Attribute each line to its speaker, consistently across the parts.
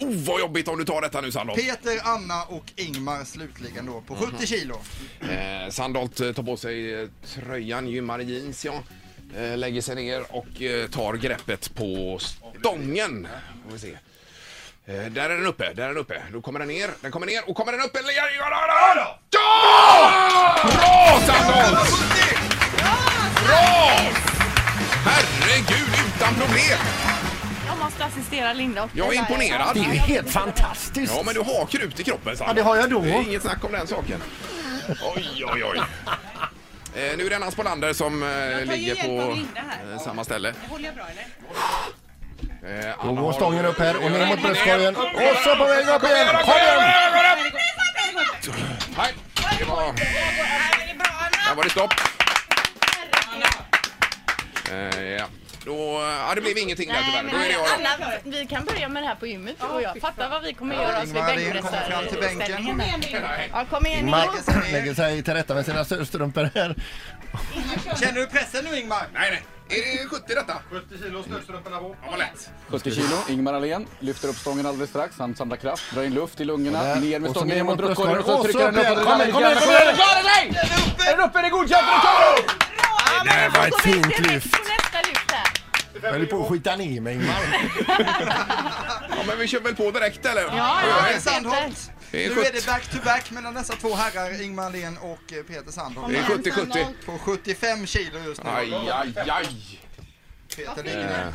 Speaker 1: Oh, vad jobbigt om du tar detta nu Sandholt.
Speaker 2: Peter, Anna och Ingmar slutligen då på 70 kilo.
Speaker 1: Eh, Sandholt eh, tar på sig eh, tröjan, gymmar i jeans ja. Eh, lägger sig ner och eh, tar greppet på stången. Får vi se. Eh, där är den uppe, där är den uppe. Då kommer den ner, den kommer ner och kommer den upp eller... Ja! ja, ja! ja! Bra Sandholt! Bra! Herregud, utan problem!
Speaker 3: Jag måste assistera Linda upp.
Speaker 1: Jag är imponerad.
Speaker 4: Det är ju helt fantastiskt.
Speaker 1: Ja, men du har krut i kroppen Sandra.
Speaker 4: Ja, det har jag då.
Speaker 1: Det är inget snack om den saken. Oj, oj, oj. Eh, nu är det Anna Spolander som eh,
Speaker 3: tar ju
Speaker 1: ligger
Speaker 3: hjälp av
Speaker 1: på
Speaker 3: Linda här.
Speaker 1: eh, samma ställe.
Speaker 3: Håller jag bra eller?
Speaker 1: Eh,
Speaker 4: Då
Speaker 1: Anna
Speaker 4: går
Speaker 1: har-
Speaker 4: stången upp här och ner mot bröstkorgen.
Speaker 1: Kom igen,
Speaker 4: Och så på väg upp
Speaker 1: kom igen,
Speaker 4: igen.
Speaker 1: kom
Speaker 4: Kom igen!
Speaker 1: igen, kom igen. Nej, det var... Där var det stopp. Eh, ja. Då, eh, ja, det blev ingenting där tyvärr.
Speaker 3: Nej,
Speaker 1: Då är det jag då.
Speaker 3: men Anna, vi kan börja med det här på gymmet du och jag. Fatta vad vi kommer göra oss vid
Speaker 2: Ingmar Ahlén kommer fram till bänken.
Speaker 3: bänkpressarställningen. Ja, kom igen
Speaker 4: Ingmar
Speaker 3: Ingmar.
Speaker 4: lägger sig till rätta med sina strumpor här.
Speaker 2: Känner du pressen nu Ingmar?
Speaker 1: Nej, nej. Är det 70 detta?
Speaker 5: 70 kilo snöstrumporna på.
Speaker 1: Ja, vad lätt.
Speaker 6: 70 kilo, Ingmar Ahlén lyfter upp stången alldeles strax. Han samlar kraft, drar in luft i lungorna,
Speaker 4: Där.
Speaker 6: ner med
Speaker 4: Och så
Speaker 6: stången
Speaker 4: ner
Speaker 6: ner mot
Speaker 4: mot
Speaker 6: bröstkorgen och så
Speaker 4: bröstkorgen.
Speaker 6: trycker han
Speaker 4: Och så upp igen.
Speaker 6: upp.
Speaker 4: Kom igen, kom igen, kom
Speaker 6: Är
Speaker 4: igen.
Speaker 6: du klar eller nej? Är den uppe? Är det godkänt? Är du klar?
Speaker 3: Ja, men
Speaker 4: var
Speaker 3: hon
Speaker 4: ett
Speaker 3: går direkt
Speaker 4: fint
Speaker 3: direkt
Speaker 4: lyft.
Speaker 3: på nästa lyft där.
Speaker 4: Jag höll på att skita ner mig Ingmar.
Speaker 1: Ja, men vi kör väl på direkt eller?
Speaker 3: Ja, ja,
Speaker 2: Peter
Speaker 3: Peter.
Speaker 2: Sandholt.
Speaker 1: Det är
Speaker 2: Nu
Speaker 1: sjut-
Speaker 2: är det back to back mellan dessa två herrar, Ingmar Ahlén och eh, Peter Sandholt.
Speaker 1: Det är 70-70.
Speaker 2: På 75 kilo just nu.
Speaker 1: Aj, aj, aj.
Speaker 2: Peter ligger där.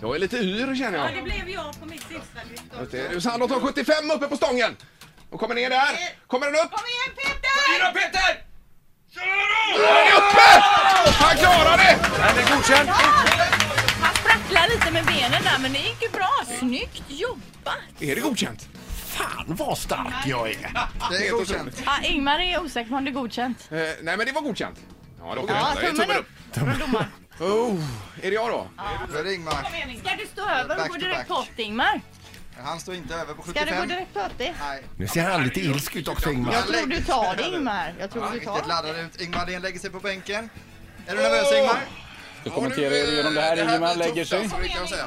Speaker 1: Jag är lite yr känner jag.
Speaker 7: Det blev jag på mitt sista lyft också.
Speaker 1: Det är Nu Sandholt har 75 uppe på stången. Och kommer ner där. Kommer den upp?
Speaker 7: Kom igen Peter!
Speaker 5: Fyra Peter!
Speaker 1: Då är den uppe! Han klarar det!
Speaker 5: Är det godkänt?
Speaker 3: Han sprattlar lite med benen där men det gick ju bra. Snyggt jobbat!
Speaker 1: Är det godkänt?
Speaker 4: Fan vad stark jag är.
Speaker 2: Det är godkänt.
Speaker 3: Ja, Ingmar är osäker på om det är godkänt.
Speaker 1: Eh, nej men det var godkänt. Ja, det var
Speaker 3: Ja,
Speaker 1: godkänt. Det är
Speaker 3: tummen upp från domaren.
Speaker 1: Oh, är det jag då?
Speaker 2: Då är det Ingmar.
Speaker 3: Ska du stå över och
Speaker 2: Back
Speaker 3: gå
Speaker 2: to
Speaker 3: direkt på
Speaker 2: back.
Speaker 3: 80 Ingmar?
Speaker 2: Han står inte över på
Speaker 3: Ska du gå
Speaker 2: 75.
Speaker 3: direkt på 80?
Speaker 2: Nej,
Speaker 4: Nu ser han lite ilsk ut också Ingmar.
Speaker 3: Jag tror du tar det Ingmar. Jag tror
Speaker 2: han är
Speaker 3: du
Speaker 2: riktigt
Speaker 3: tar
Speaker 2: laddad ut. Ingmar Ahlén lägger sig på bänken. Är du nervös Ingmar?
Speaker 6: Du kommenterar er igenom det här. Ingemar lägger sig,
Speaker 1: Alltså, det kan jag säga.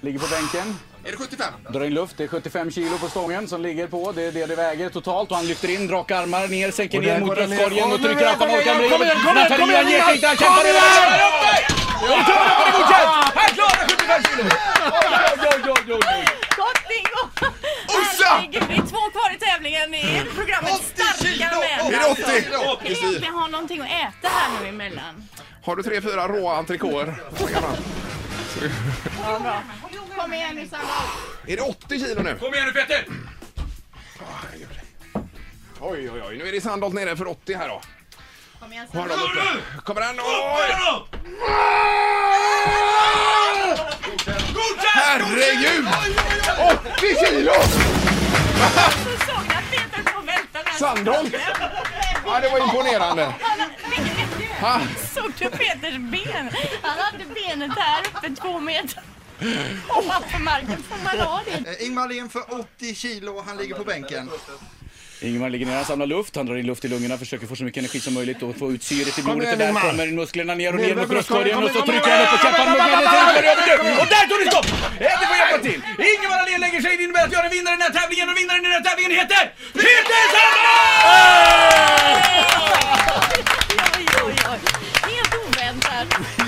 Speaker 6: ligger på bänken,
Speaker 1: Är det 75?
Speaker 6: drar in luft. Det är 75 kilo på stången som ligger på. Det är det det väger totalt. Och han lyfter in, raka armar ner, sänker
Speaker 4: Och där
Speaker 6: ner mot
Speaker 4: går den ner.
Speaker 6: bröstkorgen och
Speaker 4: Och nu
Speaker 6: trycker
Speaker 4: är
Speaker 6: allt han
Speaker 4: den
Speaker 6: orkar
Speaker 4: igen.
Speaker 6: med.
Speaker 4: Kom igen, kom igen, kom
Speaker 6: Natalia
Speaker 4: igen,
Speaker 6: ger sig inte. Han kämpar
Speaker 4: kom
Speaker 6: iväg!
Speaker 4: igen!
Speaker 6: Där uppe! Och tummen upp! Är det godkänt? Han klarar 75 kilo! Oj, oj, oj, oj, oj.
Speaker 3: Gott Bingo!
Speaker 1: Ossa!
Speaker 3: Herregud, det är två kvar i tävlingen i programmet
Speaker 2: 80 kilo!
Speaker 3: Starka män.
Speaker 1: Är det 80?
Speaker 3: Ska vi egentligen ha någonting att äta här nu emellan?
Speaker 1: Har du tre, fyra råa entrecôter?
Speaker 3: Kom igen nu Sandra.
Speaker 1: Är det 80 kilo nu? Ah,
Speaker 5: Kom igen nu Peter!
Speaker 1: Oj, oj, oj. Nu är det Sandholt nere för 80 här då.
Speaker 3: Kom igen
Speaker 1: Har
Speaker 3: Sandra.
Speaker 1: de uppe? Kommer han? Oj! Herregud! 80 kilo!
Speaker 3: Så såg ni att Peter höll på att välta där.
Speaker 1: Sandholt! Ja, det var imponerande. Ha.
Speaker 3: Såg du Peters ben? Han hade benet här uppe två meter. Ovanför marken får man ha det.
Speaker 2: Eh, Ingmar Ahlén för 80 kilo, han ligger på bänken.
Speaker 6: Ingemar ligger ner, han samlar luft, han drar in luft i lungorna, försöker få så mycket energi som möjligt och få ut syret i blodet.
Speaker 4: igen,
Speaker 6: Och där
Speaker 4: Ingemar.
Speaker 6: kommer musklerna ner och
Speaker 4: Ner
Speaker 6: ner
Speaker 4: med
Speaker 6: mot
Speaker 4: bröstkorgen,
Speaker 6: bröstkorgen
Speaker 4: kom
Speaker 6: och så
Speaker 4: igen,
Speaker 6: trycker
Speaker 4: kom
Speaker 6: han
Speaker 4: igen.
Speaker 6: upp och käppar mot benen till Ingemar över dörren. Och där tog det stopp! Äh, Vi får hjälpa till! Ingemar Ahlén lägger sig, det innebär att vi har en vinnare i den här tävlingen och vinnaren i den här tävlingen heter Peter Sandberg!
Speaker 3: Oj, oj, oj. Helt oväntat.